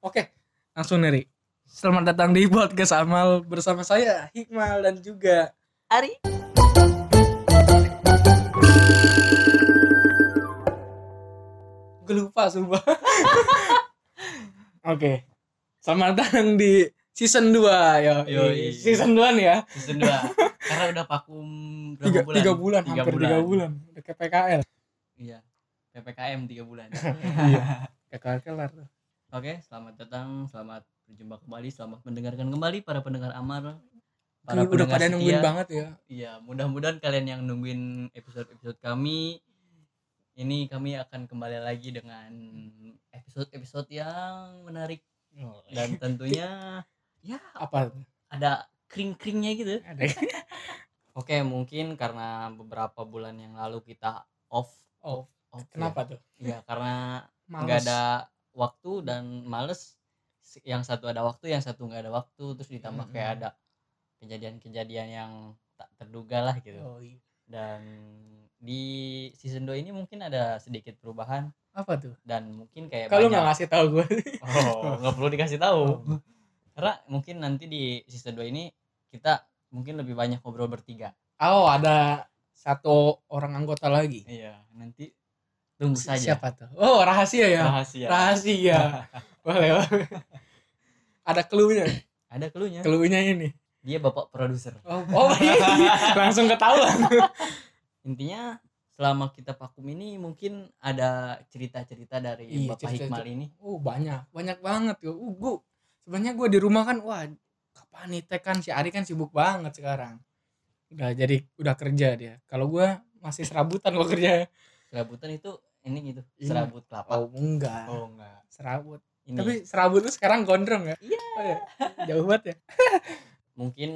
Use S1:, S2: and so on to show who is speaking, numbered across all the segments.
S1: Oke, langsung Neri. Selamat datang di podcast Amal bersama saya Hikmal dan juga
S2: Ari
S1: gue lupa sumpah. Oke. Selamat datang di season 2 ya.
S3: Yoi.
S1: Season 2 nih ya.
S3: season 2 karena udah vakum berapa
S1: Tiga,
S3: bulan?
S1: tiga bulan, hampir tiga bulan. Udah ke PKL.
S3: Iya. PPKM tiga bulan.
S1: Iya. PKL kelar.
S3: Oke, selamat datang, selamat berjumpa kembali, selamat mendengarkan kembali para pendengar Amar.
S1: Ini Iya,
S3: Para
S1: udah
S3: pendengar
S1: pada
S3: setia.
S1: nungguin banget ya.
S3: Iya, mudah-mudahan kalian yang nungguin episode-episode kami ini kami akan kembali lagi dengan episode-episode yang menarik dan tentunya ya
S1: Apa?
S3: ada kring-kringnya gitu.
S1: Ada. ya?
S3: Oke, mungkin karena beberapa bulan yang lalu kita off.
S1: Oh,
S3: off ya.
S1: kenapa tuh?
S3: Iya, karena
S1: Males.
S3: nggak ada waktu dan males Si- yang satu ada waktu yang satu nggak ada waktu terus ditambah kayak
S1: Mm-mm.
S3: ada kejadian-kejadian yang tak terduga lah gitu
S1: Oh, iya.
S3: dan di season 2 ini mungkin ada sedikit perubahan
S1: Apa tuh?
S3: dan mungkin kayak
S1: Kalau nggak Oh.
S3: banyak
S1: ngasih tahu gue.
S3: oh nggak perlu dikasih tahu karena mungkin nanti di season 2 ini kita mungkin lebih banyak ngobrol bertiga
S1: Oh, ada satu orang anggota lagi.
S3: iya nanti tunggu saja
S1: Siapa tuh? Oh, rahasia ya.
S3: rahasia
S1: Rahasia. Boleh. boleh. Ada clue-nya.
S3: ada clue-nya
S1: Clue-nya ini.
S3: dia bapak produser
S1: Oh, oh iya. langsung ketahuan.
S3: intinya selama kita vakum ini mungkin ada cerita-cerita dari
S1: Iya,
S3: Bapak
S1: cerita-cerita.
S3: Hikmal ini.
S1: Oh, banyak. Banyak banget tuh. Uh, gua sebenarnya gua di rumah kan wah kapan nih Tek kan si Ari kan sibuk banget sekarang. Udah jadi udah kerja dia. Kalau gua masih serabutan gua kerja.
S3: Serabutan itu ini gitu,
S1: Ini.
S3: serabut kelapa.
S1: Oh, enggak.
S3: enggak.
S1: Serabut.
S3: Ini
S1: Tapi serabut lu sekarang gondrong ya?
S3: Iya.
S1: Oh, iya. Jauh banget ya.
S3: mungkin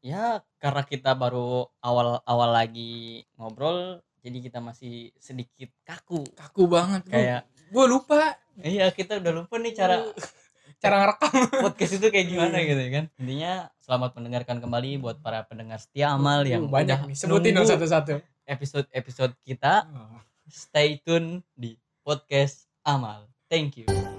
S3: ya karena kita baru awal-awal lagi ngobrol jadi kita masih sedikit kaku.
S1: Kaku banget gua.
S3: Kayak
S1: gua lupa
S3: iya kita udah lupa nih cara
S1: cara ngerekam.
S3: podcast itu kayak gimana gitu ya kan. Intinya selamat mendengarkan kembali buat para pendengar setia Amal
S1: Uh,
S3: yang
S1: banyak
S3: udah
S1: nih. Sebutin dong
S3: nunggu Ah,
S1: satu-satu. Oh.
S3: episode-episode kita. stay tune di podcast Amal. Thank you.